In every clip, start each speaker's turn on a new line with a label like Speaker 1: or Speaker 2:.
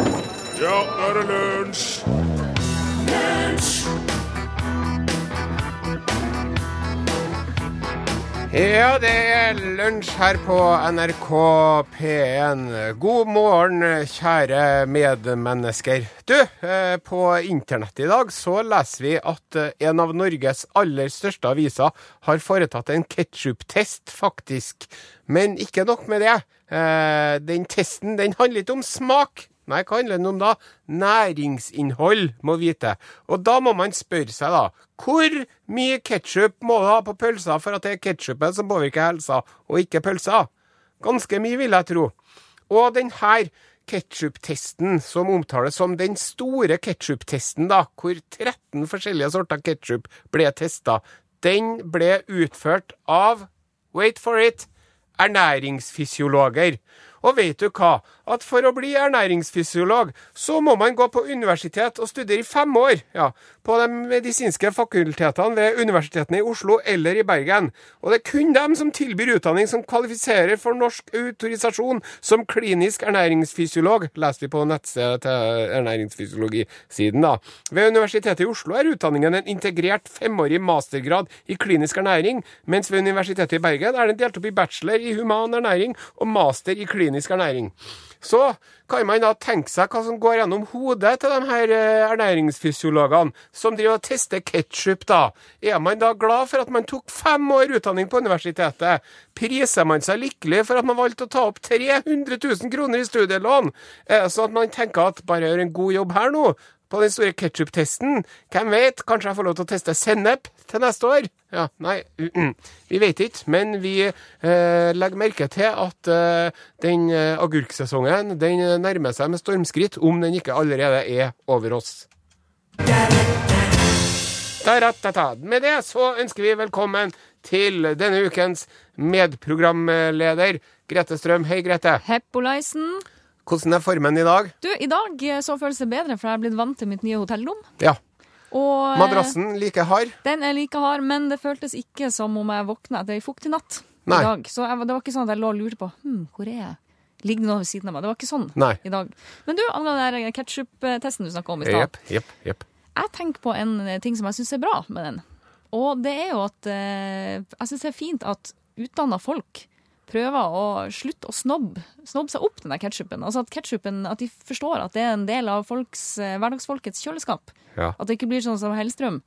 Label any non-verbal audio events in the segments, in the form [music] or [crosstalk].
Speaker 1: Ja, nå er det lunsj!
Speaker 2: Ja, det er lunsj her på NRK P1. God morgen, kjære medmennesker. Du, eh, på internett i dag så leser vi at eh, en av Norges aller største aviser har foretatt en ketsjup-test, faktisk. Men ikke nok med det. Eh, Den testen den handler ikke om smak. Nei, hva handler den om da? Næringsinnhold, må vite. Og da må man spørre seg, da. Hvor mye ketsjup må du ha på pølsa for at det er ketsjupen som påvirker helsa, og ikke pølsa? Ganske mye, vil jeg tro. Og denne ketsjup-testen, som omtales som den store ketsjup-testen, da, hvor 13 forskjellige sorter ketsjup ble testa, den ble utført av Wait for it! ernæringsfysiologer. Og vet du hva? At for å bli ernæringsfysiolog, så må man gå på universitet og studere i fem år. Ja, på de medisinske fakultetene ved universitetene i Oslo eller i Bergen. Og det er kun dem som tilbyr utdanning som kvalifiserer for norsk autorisasjon som klinisk ernæringsfysiolog, leser vi på nettstedet til ernæringsfysiologisiden, da. Ved Universitetet i Oslo er utdanningen en integrert femårig mastergrad i klinisk ernæring, mens ved Universitetet i Bergen er den delt opp i bachelor i human ernæring og master i klinisk ernæring. Så kan man da tenke seg hva som går gjennom hodet til de her eh, ernæringsfysiologene som driver og tester ketsjup, da. Er man da glad for at man tok fem år utdanning på universitetet? Priser man seg lykkelig for at man valgte å ta opp 300 000 kroner i studielån? Eh, Sånn at man tenker at bare gjør en god jobb her nå, på den store ketsjup-testen. Hvem vet, kanskje jeg får lov til å teste sennep til neste år? Ja, nei, mm, mm. vi vet ikke, men vi eh, legger merke til at eh, den eh, agurksesongen den eh, nærmer seg med stormskritt, om den ikke allerede er over oss. Ta-ra-ta-ta. Med det så ønsker vi velkommen til denne ukens medprogramleder, Grete Strøm. Hei, Grete.
Speaker 3: Heppolaisen.
Speaker 2: Hvordan er formen i dag?
Speaker 3: Du, i dag eh, så føles det bedre, for jeg er blitt vant til mitt nye hotellrom.
Speaker 2: Ja.
Speaker 3: Og eh,
Speaker 2: Madrassen like hard?
Speaker 3: den er like hard, men det føltes ikke som om jeg våkna etter ei fuktig natt
Speaker 2: Nei.
Speaker 3: i dag. Så jeg, var- det var ikke sånn at jeg lå og lurte på hm, hvor er jeg? Ligger det noe ved siden av meg? Det var ikke sånn
Speaker 2: Nei.
Speaker 3: i dag. Men du, angående ketsjup-testen du snakka om i stad.
Speaker 2: Jepp, jepp, jepp.
Speaker 3: Jeg tenker på en eh, ting som jeg syns er bra med den. Og det er jo at eh, jeg syns det er fint at utdanna folk prøver å slutte å snobbe snobb seg opp den der ketsjupen. Altså at ketchupen, at de forstår at det er en del av folks, eh, hverdagsfolkets kjøleskap.
Speaker 2: Ja.
Speaker 3: At det ikke blir sånn som Hellstrøm,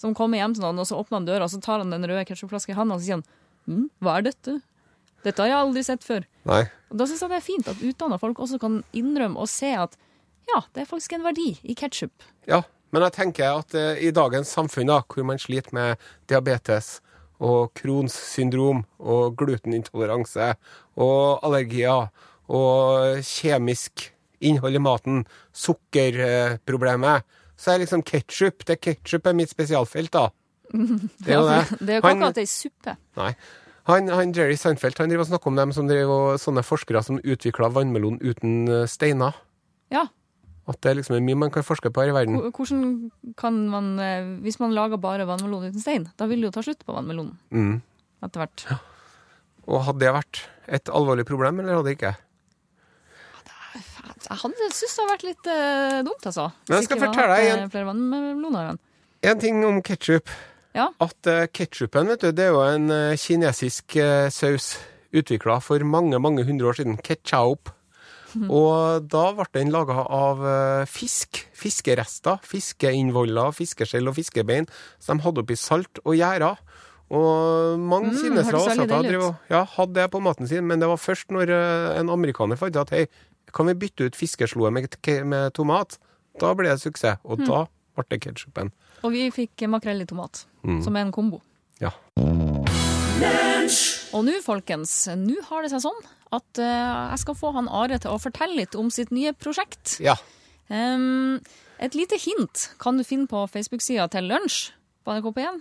Speaker 3: som kommer hjem til noen, og så åpner han døra, og så tar han den røde ketsjupflaska i handa og så sier han, hm, hva er dette? Dette har jeg aldri sett før.
Speaker 2: Nei.
Speaker 3: Og Da syns jeg det er fint at utdanna folk også kan innrømme og se at ja, det er faktisk en verdi i ketsjup.
Speaker 2: Ja, men jeg tenker at eh, i dagens samfunn, da, hvor man sliter med diabetes og Crohns syndrom og glutenintoleranse og allergier og kjemisk innhold i maten, sukkerproblemet, så er liksom ketsjup Ketsjup er mitt spesialfelt, da. Det er jo
Speaker 3: [laughs] Ja,
Speaker 2: det.
Speaker 3: for Det er jo ikke
Speaker 2: Han-
Speaker 3: akkurat ei suppe.
Speaker 2: Nei. Han, han Jerry Seinfeld han driver og snakker om dem som driver og, sånne forskere som utvikla vannmelon uten eh, steiner.
Speaker 3: Ja,
Speaker 2: At det er liksom mye man kan forske på her i verden.
Speaker 3: hvor- hvordan kan man eh, Hvis man lager bare vannmelon uten stein, da vil det jo ta slutt på vannmelonen
Speaker 2: Mm.
Speaker 3: etter hvert.
Speaker 2: Og hadde det vært et alvorlig problem, eller hadde det ikke?
Speaker 3: Jeg hadde syns det har vært litt eh, dumt, altså.
Speaker 2: Men jeg skal
Speaker 3: Hvis ikke man
Speaker 2: fortelle
Speaker 3: hadde
Speaker 2: deg
Speaker 3: hatt,
Speaker 2: en-
Speaker 3: eh, Flere vannmeloner igjen.
Speaker 2: En ting om ketsjup.
Speaker 3: Ja.
Speaker 2: At uh, ketsjupen, vet du, det er jo en eh, kinesisk eh, saus utvikla for mange, mange hundre år siden. Ketchup.
Speaker 3: Mhm.
Speaker 2: Og da ble den laga av eh, fisk. Fiskerester. Fiskeinnvoller, fiskeskjell og fiskebein. Så de hadde oppi salt og gjerder. Og mange
Speaker 3: Mm,
Speaker 2: kinesere
Speaker 3: høres
Speaker 2: og
Speaker 3: veldig
Speaker 2: asiater
Speaker 3: deilig ut.
Speaker 2: drev og- ja, hadde det på maten sin, men det var først når eh, en amerikaner fant ut at hei, kan vi bytte ut fiskesloet med, med tomat? Da ble det suksess, og
Speaker 3: Mhm.
Speaker 2: da ble det ketsjupen.
Speaker 3: Og vi fikk eh, makrell i tomat,
Speaker 2: Mm.
Speaker 3: som er en kombo.
Speaker 2: Ja.
Speaker 3: Og nå, folkens, nå har det seg sånn at eh, jeg skal få han Are til å fortelle litt om sitt nye prosjekt.
Speaker 2: ja.
Speaker 3: Ehm, et lite hint kan du finne på Facebook-sida til Lunsj på NRK1.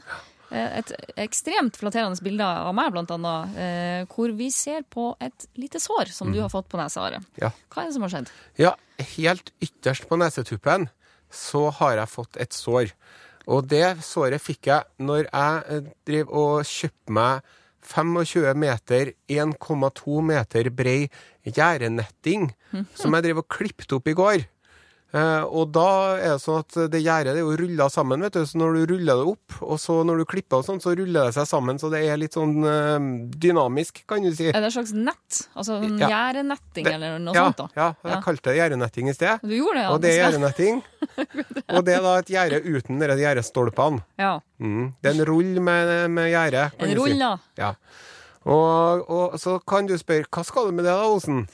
Speaker 3: Eh, Et ekstremt flatterende bilde av meg, blant annet, eh, hvor vi ser på et lite sår som du har fått på nesa, Are.
Speaker 2: Mm. Ja.
Speaker 3: Hva er det som har skjedd?
Speaker 2: Ja, helt ytterst på nesetuppen så har jeg fått et sår. Og det såret fikk jeg når jeg eh, driv og kjøpte meg 25 meter,
Speaker 3: Mhm.
Speaker 2: 1,2 meter brei gjerdenetting som jeg driver og klippet opp i går. Eh, og da er det sånn at det gjerdet det er jo rulla sammen, vet du. Så når du ruller det opp, og så når du klipper og sånn, så ruller det seg sammen. Så det er litt sånn eh, dynamisk, kan du si.
Speaker 3: Er det et slags nett? Altså en
Speaker 2: Ja.
Speaker 3: gjerdenetting eller noe
Speaker 2: ja,
Speaker 3: sånt? da?
Speaker 2: ja, jeg
Speaker 3: Ja.
Speaker 2: kalte det gjerdenetting i sted.
Speaker 3: Du gjorde det, ja.
Speaker 2: og det er
Speaker 3: skal- [laughs]
Speaker 2: gjerdenetting. og det er da et gjerde uten de gjerdestolpene.
Speaker 3: Ja.
Speaker 2: Mm. Det er en rull med, med gjerde, kan
Speaker 3: En
Speaker 2: du
Speaker 3: rull,
Speaker 2: si.
Speaker 3: da.
Speaker 2: Ja. Og, og så kan du spørre hva skal du med det da, Osen?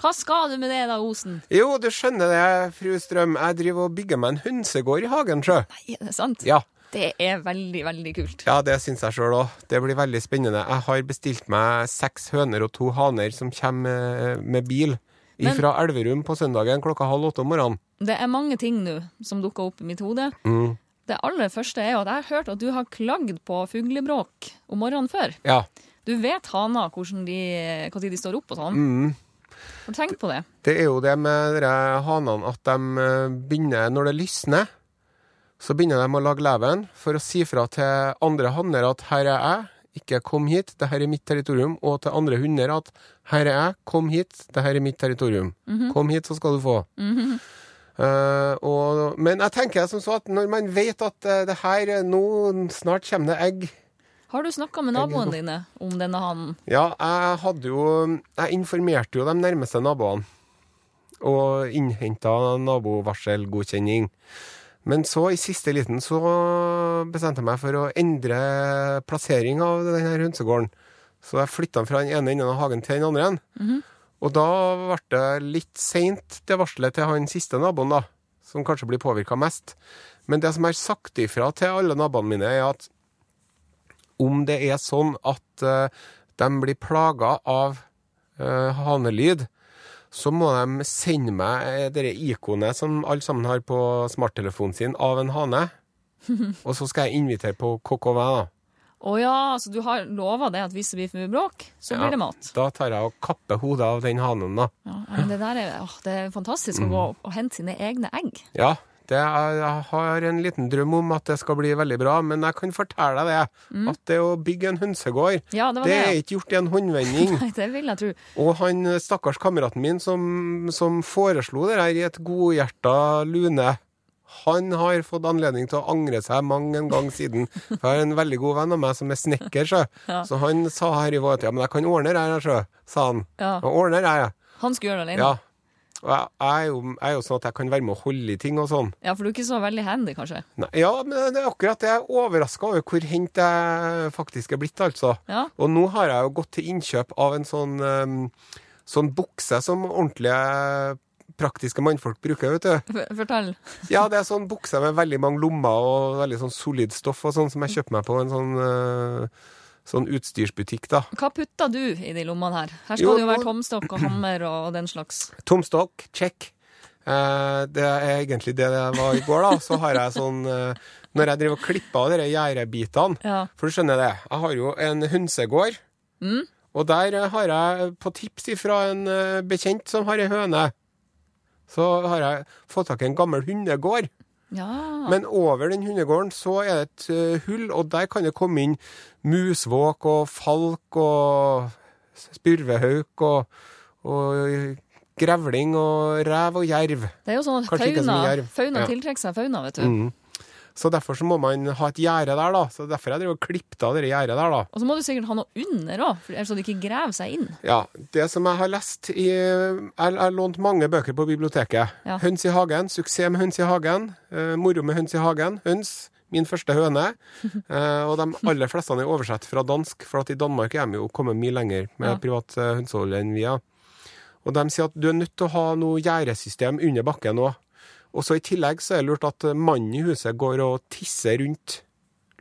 Speaker 3: Hva skal du med det da, Osen?
Speaker 2: Jo, du skjønner det, fru Strøm. Jeg driver og bygger meg en hønsegård i hagen, sjø.
Speaker 3: Nei, er det sant?
Speaker 2: Ja.
Speaker 3: Det er veldig, veldig kult.
Speaker 2: Ja, det syns jeg sjøl òg. Det blir veldig spennende. Jeg har bestilt meg seks høner og to haner som kommer eh, med bil
Speaker 3: Men-
Speaker 2: fra Elverum på søndagen klokka halv åtte om morgenen.
Speaker 3: Det er mange ting nå som dukker opp i mitt hode.
Speaker 2: Mm.
Speaker 3: Det aller første er jo at jeg har hørt at du har klagd på fuglebråk om morgenen før.
Speaker 2: Ja.
Speaker 3: Du vet haner hvordan de, hva tid de står opp og sånn.
Speaker 2: Mm.
Speaker 3: Har du tenkt på det?
Speaker 2: Det er jo det med dere hanene at de eh, begynner Når det lysner, så begynner de å lage leven for å si fra til andre hanner at 'her er jeg', ikke 'kom hit', 'det her er mitt territorium', og til andre hunder at 'her er jeg, kom hit, det her er mitt territorium'. Kom hit, så skal du få. Eh, og, men jeg tenker som så at når man vet at eh, det her eh, nå snart kommer det egg
Speaker 3: Har du snakka med naboene dine om denne hanen?
Speaker 2: ja, jeg hadde jo Jeg informerte jo de nærmeste naboene. Og innhenta nabovarselgodkjenning. Men så, i siste liten, så bestemte jeg meg for å endre plassering av denne her hønsegården. Så jeg flytta den fra den ene enden av hagen til den andre. enden. Og da ble det litt seint, det varselet til han siste naboen, da. Som kanskje blir påvirka mest. Men det som jeg har sagt ifra til alle naboene mine, er at om det er sånn at eh, de blir plaga av eh, hanelyd, så må de sende meg eh, det ikonet som alle sammen har på smarttelefonen sin, av en
Speaker 3: [laughs]
Speaker 2: hane. Og så skal jeg invitere på KKV, da.
Speaker 3: Å ja, så du har lova det at hvis det blir fuglebråk, så blir det mat.
Speaker 2: Da tar jeg og kapper hodet av den hanen, da.
Speaker 3: Ja, men det der er, åh, det er fantastisk
Speaker 2: Mm.
Speaker 3: å gå og hente sine egne egg.
Speaker 2: Ja, det er, jeg har en liten drøm om at det skal bli veldig bra, men jeg kan fortelle deg det. At det å bygge en hønsegård,
Speaker 3: Mm. Ja, det var
Speaker 2: det
Speaker 3: det.
Speaker 2: er
Speaker 3: ja.
Speaker 2: ikke gjort i en
Speaker 3: [laughs]
Speaker 2: håndvending. [laughs]
Speaker 3: Nei, det vil jeg tro.
Speaker 2: Og han eh, stakkars kameraten min som, som foreslo det her i et godhjerta lune, han har fått anledning til å angre seg mange en gang siden. For jeg har en veldig god venn av meg som er snekker, så, så han sa her i vår at ja, men jeg kan ordne det her, så, sa han.
Speaker 3: Ja.
Speaker 2: Jeg ordner det, jeg.
Speaker 3: Han skulle gjøre det alene.
Speaker 2: Ja. Og jeg, jeg, er jo, jeg er jo sånn at jeg kan være med å holde i ting og sånn.
Speaker 3: Ja, for du er ikke så veldig handy, kanskje.
Speaker 2: Nei, ja, men det er akkurat det. Jeg er overraska over hvor hent jeg faktisk er blitt, altså.
Speaker 3: Ja.
Speaker 2: Og nå har jeg jo gått til innkjøp av en sånn, em, sånn bukse som ordentlige praktiske mannfolk bruker, vet du.
Speaker 3: F- Fortell.
Speaker 2: Ja, det er sånn bukse med veldig mange lommer og veldig sånn solid stoff og sånn som jeg kjøper meg på en sånn, eh, sånn utstyrsbutikk, da.
Speaker 3: Hva putter du i de lommene her? Her skal
Speaker 2: Jo,
Speaker 3: det jo være
Speaker 2: nå-
Speaker 3: tomstokk og hammer og den
Speaker 2: [clears throat]
Speaker 3: slags.
Speaker 2: Tomstokk, check. Eh, det er egentlig det det var i går, da. Så har jeg sånn eh, Når jeg driver og klipper av de gjerdebitene
Speaker 3: Ja.
Speaker 2: For du skjønner det, jeg har jo en hønsegård. Og der eh, har jeg, på tips fra en eh, bekjent som har ei høne, så har jeg fått tak i en gammel hundegård.
Speaker 3: ja.
Speaker 2: Men over den hundegården så er det et eh, hull, og der kan det komme inn musvåk og falk og spurvehauk og, og grevling og rev og jerv.
Speaker 3: Det er jo sånn at
Speaker 2: Kanskje ikke så
Speaker 3: fauna,
Speaker 2: mye jerv.
Speaker 3: fauna
Speaker 2: Ja. Mm.
Speaker 3: tiltrekker seg fauna, vet du.
Speaker 2: Så derfor så må man ha et gjerde der, da. Så derfor jeg driver og klippet av det gjerdet der, da.
Speaker 3: Og så må du sikkert ha noe under òg, ellers så det ikke graver seg inn.
Speaker 2: Ja, det som jeg har lest i Jeg jeg har lånt mange bøker på biblioteket.
Speaker 3: Ja.
Speaker 2: Høns i hagen, suksess med høns i hagen, eh, moro med høns i hagen, høns, min første
Speaker 3: [laughs]
Speaker 2: høne. Eh, og de aller fleste er oversatt fra dansk, for at i Danmark er de jo kommet mye lenger med
Speaker 3: Ja.
Speaker 2: privat eh, hønsehold enn vi er. Og de sier at du er nødt til å ha noe gjerdesystem under bakken òg. Og så i tillegg så er det lurt at mannen i huset går og tisser rundt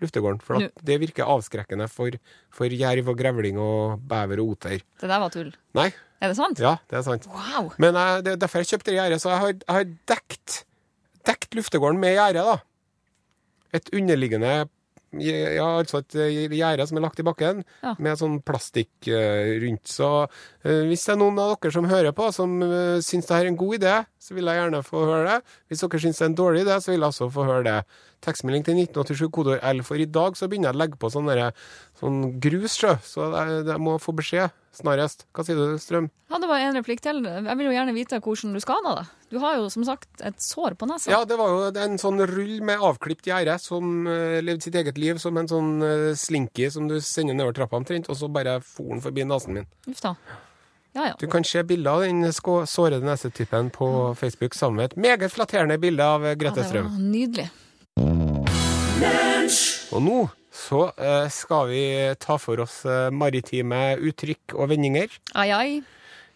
Speaker 2: luftegården, for at det virker avskrekkende for, for jerv og grevling og bever og oter.
Speaker 3: Det der var tull.
Speaker 2: Nei,
Speaker 3: Er det sant?
Speaker 2: ja, det er sant.
Speaker 3: Wow!
Speaker 2: Men jeg, det er derfor jeg kjøpte det gjerdet. Så jeg har, jeg har dekt, dekt luftegården med gjerde, da. Et underliggende Ja, altså et gjerde som er lagt i bakken,
Speaker 3: Ja.
Speaker 2: med sånn plastikk eh, rundt. Så eh, hvis det er noen av dere som hører på, som eh, syns det her er en god idé, så vil jeg gjerne få høre det. Hvis dere syns det er en dårlig idé, så vil jeg også få høre det. Tekstmelding til 1987, kodeord L, for i dag så begynner jeg å legge på sånn derre- sånn grus, sjø. Så jeg, jeg må få beskjed snarest. Hva sier du, Strøm?
Speaker 3: Jeg hadde bare en replikk til. Jeg vil jo gjerne vite hvordan du skada deg. Du har jo som sagt et sår på nesa.
Speaker 2: Ja, det var jo en sånn rull med avklipt gjerde som eh, levde sitt eget liv som en sånn eh, slinky som du sender nedover trappa omtrent, og så bare for den forbi nesen min.
Speaker 3: Uff da. Ja ja.
Speaker 2: Du kan se bilder av den skå- sårede nesetypen på Facebook sammen med et meget flatterende bilde av eh,
Speaker 3: Ja,
Speaker 2: Grete
Speaker 3: det var
Speaker 2: Strøm.
Speaker 3: nydelig.
Speaker 2: Og nå så eh, skal vi ta for oss eh, maritime uttrykk og vendinger.
Speaker 3: Ai ai.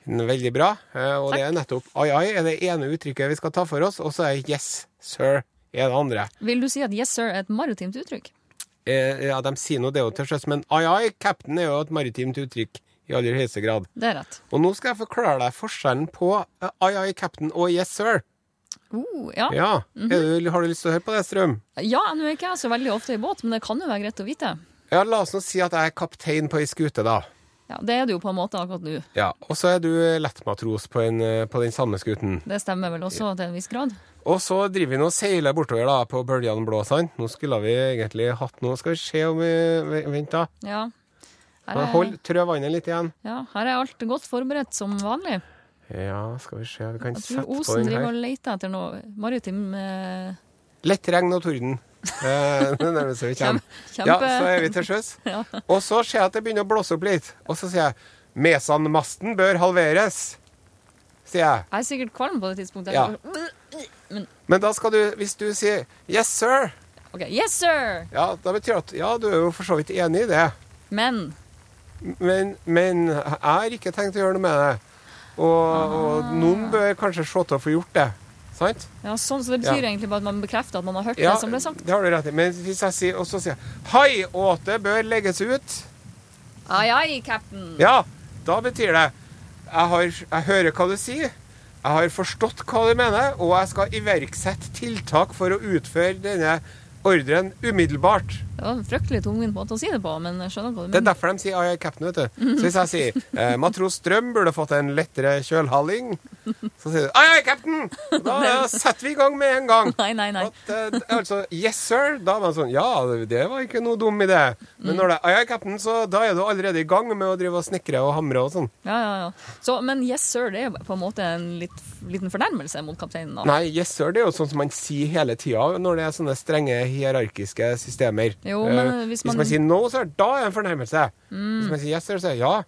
Speaker 2: Veldig bra. Eh, Og det er nettopp ai ai er det ene uttrykket vi skal ta for oss, og så er yes, sir er det andre.
Speaker 3: Vil du si at yes sir er et maritimt uttrykk?
Speaker 2: Eh, Ja, de sier nå det jo til sjøs, men ai ai, cap'n er jo et maritimt uttrykk i aller høyeste grad.
Speaker 3: Det er rett.
Speaker 2: Og nå skal jeg forklare deg forskjellen på eh, ai ai, cap'n og yes, sir.
Speaker 3: Oh, ja. ja,
Speaker 2: Ja, er du, Har du lyst til å høre på det, Strøm?
Speaker 3: nå er ikke jeg så veldig ofte i båt, men det kan jo være greit å vite.
Speaker 2: Ja, La oss nå si at jeg er kaptein på ei skute, da.
Speaker 3: Ja, Det er det jo på en måte akkurat nå.
Speaker 2: Ja, Og så er du lettmatros på, en, eh, på den samme skuten.
Speaker 3: Det stemmer vel også til en viss grad.
Speaker 2: Og så driver vi nå og seiler bortover da, på bølgene blå, sant? Nå skulle vi egentlig hatt noe. Skal vi se om vi Vent, da.
Speaker 3: Ja. Her er,
Speaker 2: Hold, trø vannet litt igjen.
Speaker 3: ja, her er alt godt forberedt som vanlig.
Speaker 2: Ja, skal vi se. Vi kan
Speaker 3: Jeg
Speaker 2: sette
Speaker 3: tror
Speaker 2: på
Speaker 3: Osen
Speaker 2: den
Speaker 3: driver
Speaker 2: her.
Speaker 3: og leter etter noe maritim eh,
Speaker 2: Lett regn og
Speaker 3: [laughs]
Speaker 2: torden. Eh, Det er nærmest vi
Speaker 3: kjem-
Speaker 2: kommer. Ja,
Speaker 3: kjempe...
Speaker 2: så er vi til sjøs.
Speaker 3: [laughs] Ja.
Speaker 2: Og så ser jeg at det begynner å blåse opp litt. Og så sier jeg Mesanmasten bør halveres. Sier jeg.
Speaker 3: Jeg er sikkert kvalm på det tidspunktet.
Speaker 2: Ja. Men da skal du, hvis du sier 'yes, sir',
Speaker 3: Ok, Yes, sir!
Speaker 2: ja, da betyr det at ja, du er jo for så vidt enig i det.
Speaker 3: Men
Speaker 2: Men, men jeg har ikke tenkt å gjøre noe med det. Og, og
Speaker 3: Ah.
Speaker 2: noen bør kanskje se til å få gjort det. Sant?
Speaker 3: ja, sånn, Så det betyr
Speaker 2: Ja.
Speaker 3: egentlig bare at man bekrefter at man har hørt det som ble sagt?
Speaker 2: det har du rett i. Men hvis jeg sier, og så sier jeg haiåte bør legges ut,
Speaker 3: Ai, ai, cap'n.
Speaker 2: ja, da betyr det jeg, har, jeg hører hva du sier, jeg har forstått hva du mener, og jeg skal iverksette tiltak for å utføre denne ordren umiddelbart.
Speaker 3: Det var en fryktelig tungvint måte å si det på, men jeg skjønner hva du
Speaker 2: Det er
Speaker 3: mener.
Speaker 2: derfor de sier «Ai, ai, cap'n, vet du. Så hvis jeg sier eh, matros Strøm burde fått en lettere kjølhaling, så sier du ai, ai, cap'n! Og Da setter vi i gang med en gang.
Speaker 3: Nei, nei, nei.
Speaker 2: At, eh, altså, yes sir, da er man sånn Ja, det var ikke noe dum idé.
Speaker 3: Mm.
Speaker 2: Men når det er ai, ai, cap'n, så da er du allerede i gang med å drive og snekre og hamre og sånn.
Speaker 3: Ja, ja, ja. Så, men yes sir, det er jo på en måte en litt, liten fornærmelse mot kapteinen. da.
Speaker 2: Nei, yes sir, det er jo sånn som man sier hele tida når det er sånne strenge hierarkiske systemer.
Speaker 3: Jo,
Speaker 2: Eh,
Speaker 3: men hvis man- Mm.
Speaker 2: sier no sir, da er det en fornærmelse. Hvis man sier yes sir, så er det ja.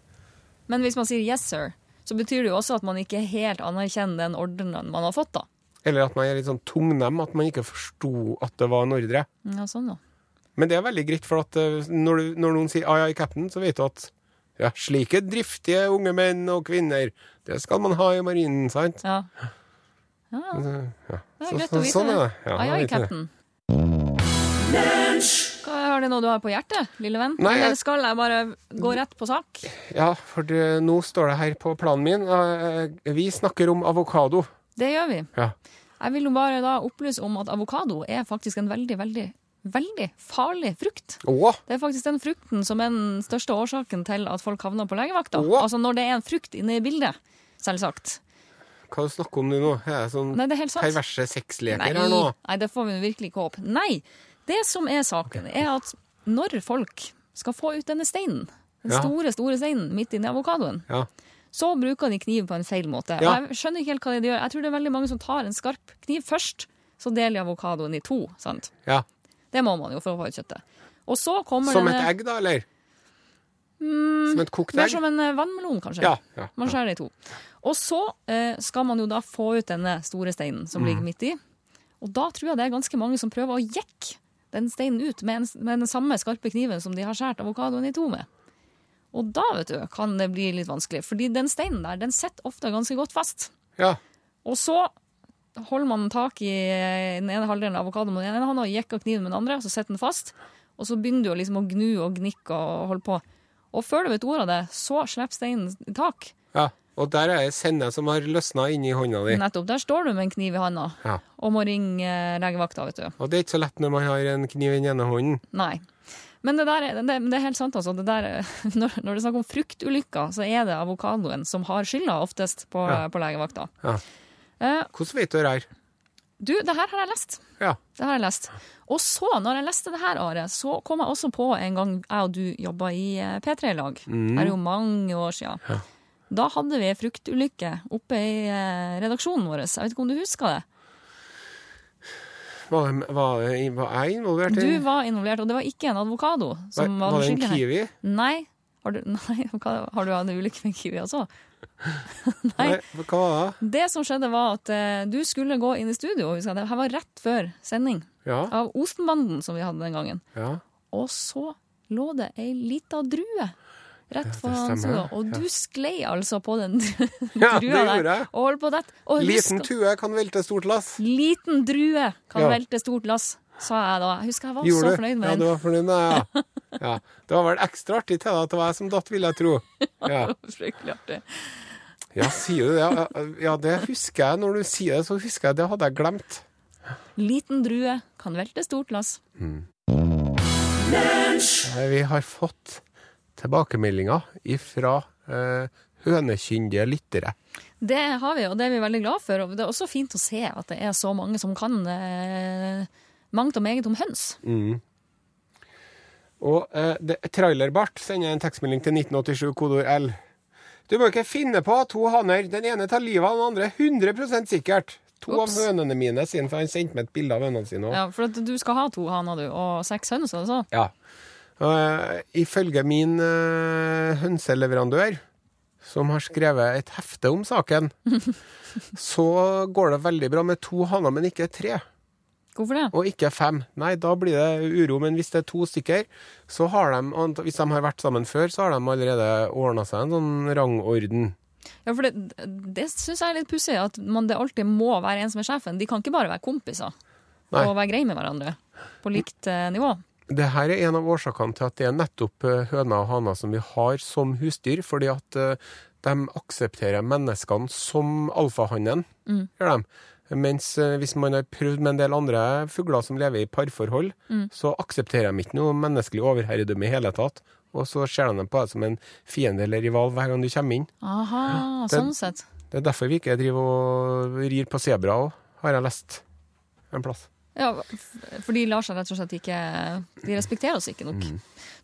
Speaker 3: Men hvis man sier yes sir, så betyr det jo også at man ikke helt anerkjenner den ordren man har fått, da.
Speaker 2: Eller at man er litt sånn tungnem, at man ikke forsto at det var en ordre.
Speaker 3: Ja, sånn da.
Speaker 2: Men det er veldig greit, for at eh, når, du, når noen sier ai, ai, cap'n, så vet du at ja, slike driftige unge menn og kvinner, det skal man ha i marinen, sant?
Speaker 3: Ja. Ja,
Speaker 2: Ja.
Speaker 3: ja. det
Speaker 2: Så-
Speaker 3: er greit
Speaker 2: så-
Speaker 3: å vite
Speaker 2: sånn er
Speaker 3: det.
Speaker 2: det. Ja,
Speaker 3: ai,
Speaker 2: man
Speaker 3: ai,
Speaker 2: vet det.
Speaker 3: cap'n. Hva Har det noe du har på hjertet, lille venn?
Speaker 2: Nei, jeg-
Speaker 3: Eller skal jeg bare gå rett på sak?
Speaker 2: Ja, for det, nå står det her på planen min. eh, Vi snakker om avokado.
Speaker 3: Det gjør vi.
Speaker 2: Ja.
Speaker 3: Jeg vil jo bare da opplyse om at avokado er faktisk en veldig, veldig, veldig farlig frukt.
Speaker 2: Å,
Speaker 3: Det er faktisk den frukten som er den største årsaken til at folk havner på legevakta.
Speaker 2: Åh.
Speaker 3: Altså når det er en frukt inne i bildet, selvsagt.
Speaker 2: hva du snakker om du nå? Er det sånn
Speaker 3: Nei, det er helt sant.
Speaker 2: perverse sexleker her nå?
Speaker 3: Nei, det får vi virkelig ikke håpe. Nei, det som er saken, er at når folk skal få ut denne steinen, den
Speaker 2: Ja.
Speaker 3: store, store steinen midt inni avokadoen,
Speaker 2: Ja.
Speaker 3: så bruker de kniv på en feil måte.
Speaker 2: Ja.
Speaker 3: Og jeg skjønner ikke helt hva de gjør. Jeg tror det er veldig mange som tar en skarp kniv først, så deler de avokadoen i to, sant?
Speaker 2: ja.
Speaker 3: Det må man jo for å få ut kjøttet. Og så kommer
Speaker 2: Som et
Speaker 3: denne...
Speaker 2: egg, da, eller? som et kokt
Speaker 3: Mm, Mer
Speaker 2: egg?
Speaker 3: som en eh, vannmelon, kanskje.
Speaker 2: Ja, ja,
Speaker 3: Man skjærer det i to. Og så eh, skal man jo da få ut denne store steinen som ligger midt i. Og da tror jeg det er ganske mange som prøver å jekke den steinen ut med, en, med den samme skarpe kniven som de har skåret avokadoen i to med. Og da vet du, kan det bli litt vanskelig, fordi den steinen der den sitter ofte ganske godt fast.
Speaker 2: Ja.
Speaker 3: Og så holder man tak i eh, den ene halvdelen av avokadoen med den ene hånda og jekker kniven med den andre, så setter den fast. Og så begynner du å liksom å gnu og gnikke og holde på. Og før du vet ordet av det, så slipper steinen tak.
Speaker 2: ja. Og der er ei senne som har løsna inni hånda di.
Speaker 3: Nettopp. Der står du med en kniv i handa
Speaker 2: Ja.
Speaker 3: og må ringe eh, legevakta, vet du.
Speaker 2: Og det er ikke så lett når man har en kniv i den ene hånden.
Speaker 3: Nei. Men det, der, er- det, det er helt sant, altså. Det der, [laughs] er- når, når det er snakk om fruktulykker, så er det avokadoen som har skylda oftest på,
Speaker 2: Ja.
Speaker 3: på legevakta.
Speaker 2: Ja.
Speaker 3: Eh,
Speaker 2: Hvordan vet du det her?
Speaker 3: Du, det her har jeg lest.
Speaker 2: Ja.
Speaker 3: Det har jeg lest. Og så, når jeg leste det her, Are, så kom jeg også på en gang jeg og du jobba i eh, P3 i lag.
Speaker 2: Mm.
Speaker 3: Det er jo mange år siden. Da hadde vi ei fruktulykke oppe i eh, redaksjonen vår. Jeg vet ikke om du husker det?
Speaker 2: Var, var, var jeg involvert i
Speaker 3: Du var involvert, og det var ikke en advokado
Speaker 2: Var,
Speaker 3: som var,
Speaker 2: var det en
Speaker 3: den skyldige. her.
Speaker 2: kiwi?
Speaker 3: Nei. Har du, [laughs] nei, hva- har du hatt en ulykke med en kiwi også?
Speaker 2: Nei.
Speaker 3: Nei.
Speaker 2: Hva var det?
Speaker 3: Det som skjedde var at eh, du skulle gå inn i studio, husker jeg. Det her var rett før sending
Speaker 2: Ja.
Speaker 3: av Osenbanden som vi hadde den gangen.
Speaker 2: ja.
Speaker 3: Og så lå det ei lita drue rett
Speaker 2: stemmer.
Speaker 3: foran studio, og
Speaker 2: Ja.
Speaker 3: du sklei altså på den [laughs]
Speaker 2: Ja, det
Speaker 3: drua der
Speaker 2: gjorde jeg.
Speaker 3: og holdt på å dette. Og
Speaker 2: Liten
Speaker 3: husker-
Speaker 2: tue kan velte stort lass.
Speaker 3: liten drue kan
Speaker 2: Ja.
Speaker 3: velte stort lass, sa jeg da. Jeg husker jeg var
Speaker 2: Gjorde
Speaker 3: så
Speaker 2: du?
Speaker 3: fornøyd
Speaker 2: Ja, du
Speaker 3: med [laughs] den.
Speaker 2: var fornøyd med det,
Speaker 3: [laughs]
Speaker 2: ja. ja. Det var vel ekstra artig til deg at det var jeg som datt, vil jeg tro. Ja.
Speaker 3: Fryktelig artig.
Speaker 2: ja, sier du det? Ja, Ja, det husker jeg. Når du sier det, så husker jeg. Det hadde jeg glemt.
Speaker 3: Liten drue kan velte stort lass.
Speaker 2: Nei, Eh, Vi har fått tilbakemeldinger fra eh, hønekyndige lyttere.
Speaker 3: Det har vi, og det er vi veldig glad for. Og det er også fint å se at det er så mange som kan eh, mangt og meget om høns.
Speaker 2: Og eh, det, Trailerbart sender en tekstmelding til 1987, kodord L. Du må ikke finne på at to hanner. Den ene tar livet av den andre 100 sikkert. To
Speaker 3: Ops.
Speaker 2: av hønene mine, sier han, for han sendte meg et bilde av hønene sine òg.
Speaker 3: Ja, for at du skal ha to haner, du, og seks høns, altså.
Speaker 2: Ja. Eh, ifølge min eh, hønseleverandør, som har skrevet et hefte om saken, så går det veldig bra med to hanner, men ikke tre.
Speaker 3: Hvorfor det?
Speaker 2: og ikke fem. Nei, da blir det uro. Men hvis det er to stykker, så har de, ant- hvis de har vært sammen før, så har de allerede ordna seg en sånn rangorden.
Speaker 3: Ja, for det, det syns jeg er litt pussig, at man, det alltid må være en som er sjefen. De kan ikke bare være kompiser
Speaker 2: Nei.
Speaker 3: og være greie med hverandre på likt eh, nivå.
Speaker 2: Det her er en av årsakene til at det er nettopp eh, høna og hana som vi har som husdyr, fordi at eh, de aksepterer menneskene som alfahannen, gjør de. Mens eh, hvis man har prøvd med en del andre fugler som lever i parforhold, så aksepterer de ikke noe menneskelig overherredømme i hele tatt. Og så ser de på deg som en fiende eller rival hver gang du kommer inn.
Speaker 3: Aha,
Speaker 2: Den-
Speaker 3: sånn sett.
Speaker 2: Det er derfor vi ikke driver og rir på sebra òg, har jeg lest en plass.
Speaker 3: Ja, f- for de lar seg rett og slett ikke De respekterer oss ikke nok.
Speaker 2: Mm.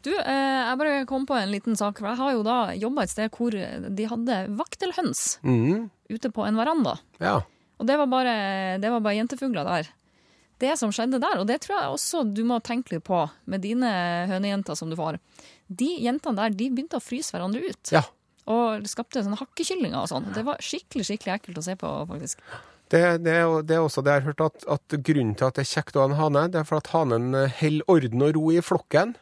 Speaker 3: Du, eh, jeg bare kom på en liten sak. For jeg har jo da jobba et sted hvor de hadde vaktelhøns
Speaker 2: Mm,
Speaker 3: ute på en veranda.
Speaker 2: ja.
Speaker 3: Og det var bare, det var bare jentefugler der. Det som skjedde der, og det tror jeg også du må tenke litt på med dine hønejenter som du får De jentene der de begynte å fryse hverandre ut.
Speaker 2: ja.
Speaker 3: Og skapte sånne hakkekyllinger og sånn. Det var skikkelig skikkelig ekkelt å se på, faktisk.
Speaker 2: Det, det, er jo- det er også det jeg har hørt, at, at grunnen til at det er kjekt å ha en hane, det er for at hanen holder orden og ro i flokken,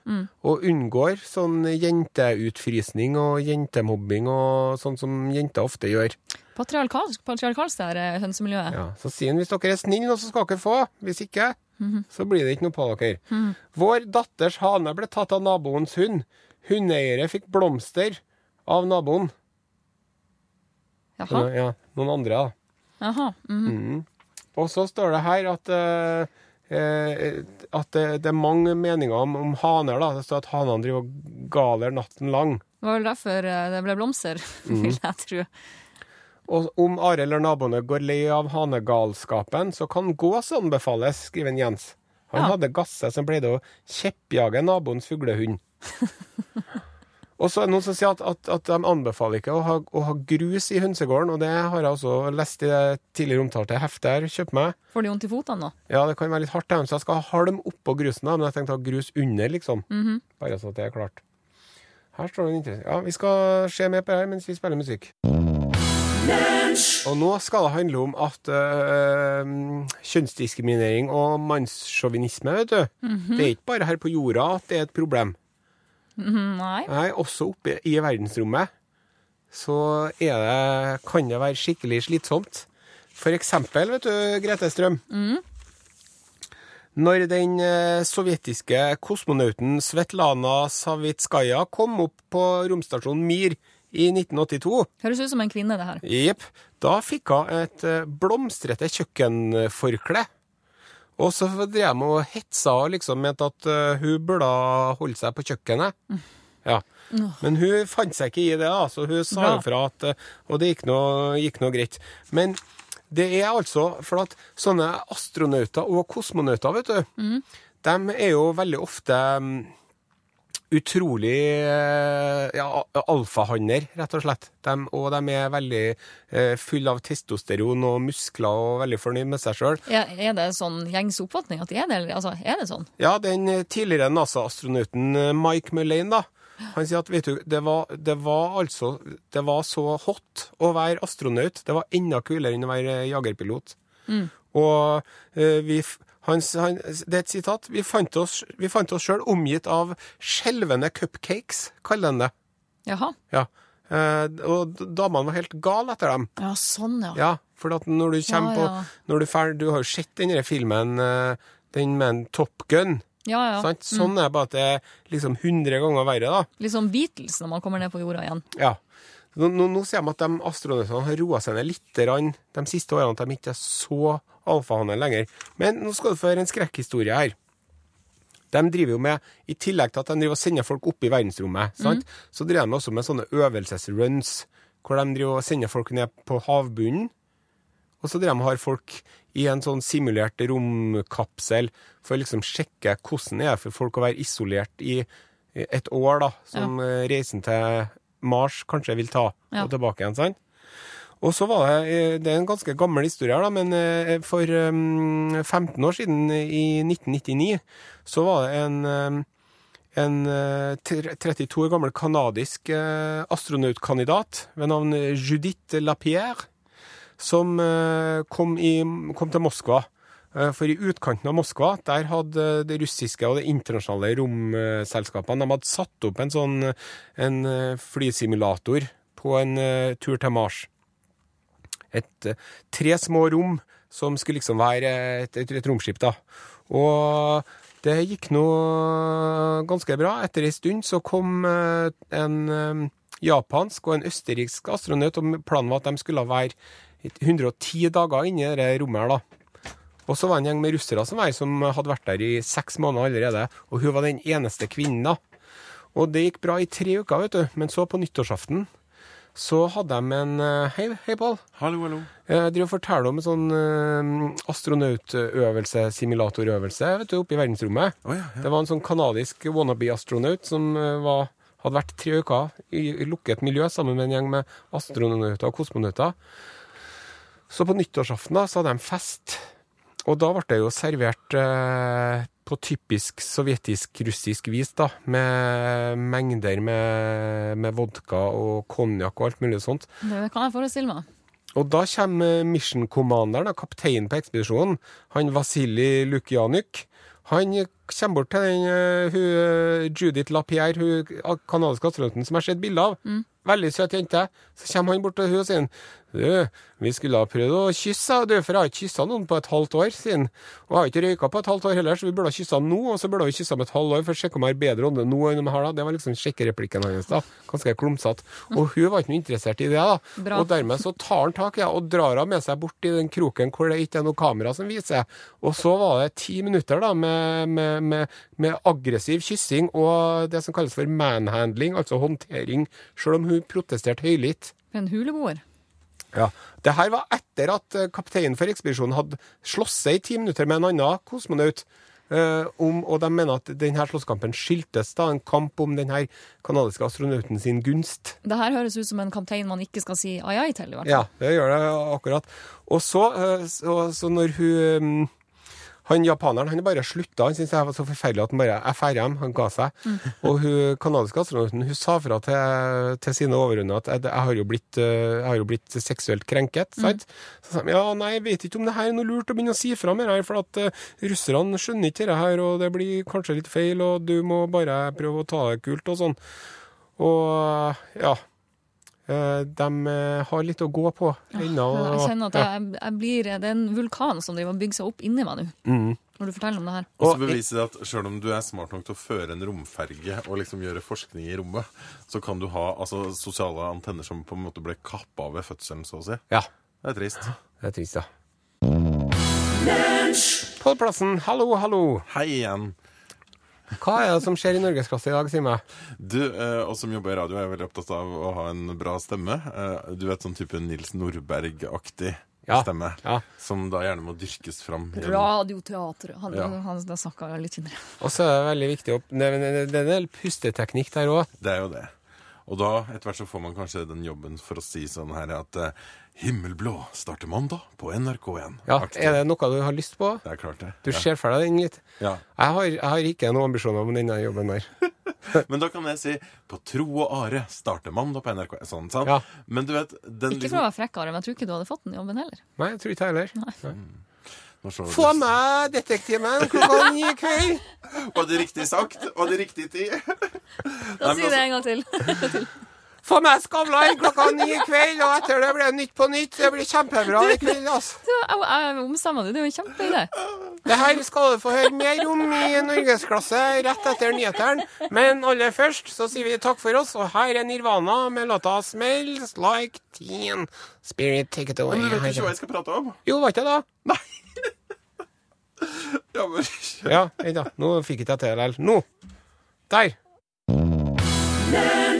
Speaker 2: og unngår sånn jenteutfrysning og jentemobbing og sånn som jenter ofte gjør.
Speaker 3: Patriarkalsk, patriarkalsk det her eh, hønsemiljøet.
Speaker 2: Ja, så sier han hvis dere er snille, nå, så skal dere få. Hvis ikke, så blir det ikke noe på dere. Vår datters hane ble tatt av naboens hund. Hundeeiere fikk blomster av naboen.
Speaker 3: Jaha.
Speaker 2: Ja, noen andre, da.
Speaker 3: Jaha. Mm.
Speaker 2: Og så står det her at eh, eh, at det, det er mange meninger om, om haner. da. Det står at hanene driver og galer natten lang.
Speaker 3: Det var vel derfor eh, det ble blomster, [laughs]
Speaker 2: Mhm.
Speaker 3: vil jeg tro.
Speaker 2: Og om Are eller naboene går lei av hanegalskapen, så kan gås anbefales, skriver en Jens. Han
Speaker 3: Ja.
Speaker 2: hadde Gasse som pleide å kjeppjage naboens fuglehund. og så er det noen som sier at, at, at de anbefaler ikke å ha, å ha grus i hønsegården, og det har jeg også lest i det tidligere omtalte heftet her. Kjøp meg.
Speaker 3: Får de vondt i føttene nå?
Speaker 2: Ja, det kan være litt hardt, da, så jeg skal ha halm oppå grusen, da, men jeg tenkte å ha grus under, liksom. Bare så at det er klart. Her står det en interessant Ja, vi skal se med på det her mens vi spiller musikk. Og nå skal det handle om at øh, kjønnsdiskriminering og mannssjåvinisme, vet du. Det er ikke bare her på jorda at det er et problem.
Speaker 3: Nei.
Speaker 2: Nei, også oppe i verdensrommet så er det, kan det være skikkelig slitsomt. For eksempel, vet du, Grete Strøm. Når den eh, sovjetiske kosmonauten Svetlana Savitskaja kom opp på romstasjonen Mir i 1982,
Speaker 3: Høres ut som en kvinne, det her.
Speaker 2: Jepp. Da fikk hun et eh, blomstrete kjøkkenforkle. Og så drev de og hetsa og liksom mente at eh, hun burde holde seg på kjøkkenet. Ja. Men hun fant seg ikke i det, da, så altså. hun sa
Speaker 3: Bra.
Speaker 2: jo fra at eh, Og det gikk nå gikk nå greit. Men Det er altså for at sånne astronauter og kosmonauter, vet du, de er jo veldig ofte mm, utrolig eh, ja, a- alfahanner, rett og slett. Dem- og de er veldig eh, fulle av testosteron og muskler og veldig fornøyd med seg sjøl.
Speaker 3: Er, er det sånn gjengs oppfatning at de er det, eller altså, er det sånn?
Speaker 2: Ja, den eh, tidligere NASA-astronauten eh, Mike Mullane, da. Han sier at vet du, det var, det var altså Det var så hot å være astronaut. Det var enda kulere enn å være eh, jagerpilot. Og eh, vi f- han, s- han, s- Det er et sitat. Vi fant oss vi fant oss sjøl omgitt av skjelvende cupcakes, kaller han det.
Speaker 3: Jaha.
Speaker 2: Ja. Eh, og d- damene var helt gale etter dem.
Speaker 3: Ja, sånn, ja.
Speaker 2: Ja, for at når du kommer
Speaker 3: Ja,
Speaker 2: på
Speaker 3: ja.
Speaker 2: når du, fer, du har jo sett den der filmen, eh, den med en Top Gun.
Speaker 3: ja, Mm. ja.
Speaker 2: Sant? Sånn er det bare at det er liksom 100 ganger verre, da.
Speaker 3: Litt sånn Beatles når man kommer ned på jorda igjen.
Speaker 2: Ja. Nå, nå, nå ser man at de astronautene har roa seg ned litt grann de siste årene, at de ikke er så alfahanne lenger. Men nå skal du få høre en skrekkhistorie her. De driver jo med, I tillegg til at de driver og sender folk opp i verdensrommet, sant? så driver de også med sånne øvelsesruns, hvor de driver og sender folk ned på havbunnen. Og så driver de og har folk i en sånn simulert romkapsel for å liksom sjekke hvordan det er for folk å være isolert i et år, da, som eh, reisen til Mars kanskje vil ta,
Speaker 3: Ja.
Speaker 2: og tilbake igjen. sant? Og så var det eh, Det er en ganske gammel historie her, da, men eh, for eh, 15 år siden, eh, i 1999, så var det en eh, en eh, tre- 32 år gammel kanadisk eh, astronautkandidat ved navn Judith Lapierre, som eh, kom, i, kom til Moskva. Eh, For i utkanten av Moskva der hadde eh, det russiske og det internasjonale romselskapene de hadde satt opp en sånn en eh, flysimulator på en eh, tur til Mars. Et, eh, tre små rom som skulle liksom være et, et, et romskip. da. Og det gikk nå ganske bra. Etter ei stund så kom eh, en eh, japansk og en østerriksk astronaut, og planen var at de skulle være 110 dager inne i det rommet her, da. Og så var det en gjeng med russere som, var, her, som hadde vært der i seks måneder allerede, og hun var den eneste kvinnen da. Og det gikk bra i tre uker, vet du, men så på nyttårsaften så hadde de en eh, Hei, hei Pål.
Speaker 1: Hallo, hallo.
Speaker 2: Jeg Eh, driver og forteller om en sånn eh, astronautøvelse, simulatorøvelse, vet du, oppe i verdensrommet.
Speaker 1: Å ja, ja.
Speaker 2: Det var en sånn kanadisk wannabe-astronaut som eh, var, hadde vært tre uker i, i lukket miljø sammen med en gjeng med astronauter og kosmonauter. Så på nyttårsaften da, så hadde de fest, og da ble det jo servert eh, på typisk sovjetisk-russisk vis, da, med mengder med, med vodka og konjakk og alt mulig sånt.
Speaker 3: Det kan jeg forestille meg.
Speaker 2: Og da kommer mission commanderen, da, kapteinen på ekspedisjonen, han Vasilij Lukjanyk. Han kommer bort til den eh, hun, eh, Judith Lapierre, hun ah, kanadiske astronauten som jeg har sett bilde av. Veldig søt jente. Så kommer han bort til hun og sier Du, vi skulle ha prøvd å kysse, du, for jeg har ikke kyssa noen på et halvt år, sier han. Og jeg har ikke røyka på et halvt år heller, så vi burde ha kyssa nå, og så burde vi kyssa om et halvt år for å sjekke om jeg har bedre ånde nå enn om jeg har da. Det var liksom sjekkereplikken hans, da. Ganske klumsete. Og hun var ikke noe interessert i det, da.
Speaker 3: Bra.
Speaker 2: Og dermed så tar han tak ja, og drar henne med seg bort i den kroken hvor det ikke er noe kamera som viser. Og så var det ti minutter da med, med, med, med aggressiv kyssing og det som kalles for manhandling, altså håndtering, sjøl om hun protesterte høylytt.
Speaker 3: En huleboer.
Speaker 2: Ja. Det her var etter at eh, kapteinen for ekspedisjonen hadde slåss seg i ti minutter med en annen kosmonaut. eh, om, og de mener at denne slåsskampen skyldtes da en kamp om denne kanadiske astronauten sin gunst.
Speaker 3: Det her høres ut som en kaptein man ikke skal si ai ai til, i hvert fall.
Speaker 2: Ja, det gjør det akkurat. Og så, eh, så, så når hun mm, Han japaneren han bare slutta. Han syntes det her var så forferdelig at han bare FRM, han ga seg. [laughs] Og hun kanadiske astronauten hun sa fra til, til sine overordnede at jeg, jeg, har jo blitt, eh, jeg har jo blitt seksuelt krenket. Sant? Så sa de ja, nei, jeg vet ikke om det her er noe lurt å begynne å si fra mer her, for at eh, russerne skjønner ikke det her, og det blir kanskje litt feil, og du må bare prøve å ta det kult og sånn. Og ja. Eh, De eh, har litt å gå på ennå.
Speaker 3: Men Jeg
Speaker 2: og-
Speaker 3: kjenner at
Speaker 2: ja.
Speaker 3: jeg, jeg blir, det er en vulkan som driver og bygger seg opp inni meg nå,
Speaker 2: Mhm.
Speaker 3: når du forteller om det her.
Speaker 1: Og så
Speaker 2: Og-
Speaker 1: beviser det at selv om du er smart nok til å føre en romferge og liksom gjøre forskning i rommet, så kan du ha altså, sosiale antenner som på en måte ble kappa ved fødselen, så å si.
Speaker 2: ja.
Speaker 1: Det er trist.
Speaker 2: Det er trist, ja. Pål Plassen, hallo, hallo.
Speaker 1: Hei igjen.
Speaker 2: Hva er det som skjer i norgesklasse i dag, Simen?
Speaker 1: Du, eh, og som jobber i radio, er jeg veldig opptatt av å ha en bra stemme. Eh, du vet sånn type Nils Nordberg-aktig.
Speaker 2: Ja.
Speaker 1: stemme,
Speaker 2: Ja.
Speaker 1: som da gjerne må dyrkes fram. gjennom-
Speaker 3: Radioteater. Han,
Speaker 1: Ja.
Speaker 3: han, han snakka litt tynnere.
Speaker 2: Og så er det veldig viktig å nevne Det er en del pusteteknikk der òg.
Speaker 1: Det er jo det. Og da, etter hvert så får man kanskje den jobben for å si sånn her at eh, Himmelblå starter mandag på NRK1.
Speaker 2: Ja,
Speaker 1: Aktig.
Speaker 2: er det noe du har lyst på?
Speaker 1: Det er klart det.
Speaker 2: Du
Speaker 1: Ja.
Speaker 2: ser for deg den litt?
Speaker 1: Ja.
Speaker 2: Jeg har, jeg har ikke noen ambisjoner om denne jobben der.
Speaker 1: Men da kan jeg si På tro og are starter mandag på NRK1. Sånn, sant?
Speaker 2: Ja.
Speaker 1: Men du vet den liksom-
Speaker 3: Ikke for å være frekk, Are, men jeg tror ikke du hadde fått den jobben heller.
Speaker 2: Nei, jeg tror ikke jeg heller.
Speaker 1: Nå slår det
Speaker 2: Få
Speaker 1: løs.
Speaker 2: meg detektimen klokka ni i kveld!
Speaker 1: Var det riktig sagt? Var det riktig tid?
Speaker 3: Da
Speaker 1: Nei, men altså-
Speaker 3: sier det en gang til. [laughs]
Speaker 2: Få meg Skavlan klokka ni i kveld, og etter det blir det Nytt på nytt. Det blir kjempebra i kveld, altså.
Speaker 3: Du, Jeg jeg omstemmer det. Det er jo en kjempeidé.
Speaker 2: Det her skal du få høre mer om i norgesklasse rett etter nyhetene. Men aller først så sier vi takk for oss, og her er Nirvana med låta 'Smells Like Teen'. Spirit, take it away.
Speaker 1: Du vet ikke hva jeg skal prate om?
Speaker 2: Jo, var ikke det da?
Speaker 1: Ja, men...
Speaker 2: Ja, vent da. Nå fikk ikke jeg til det likevel. Nå. Der.
Speaker 1: Lunsj,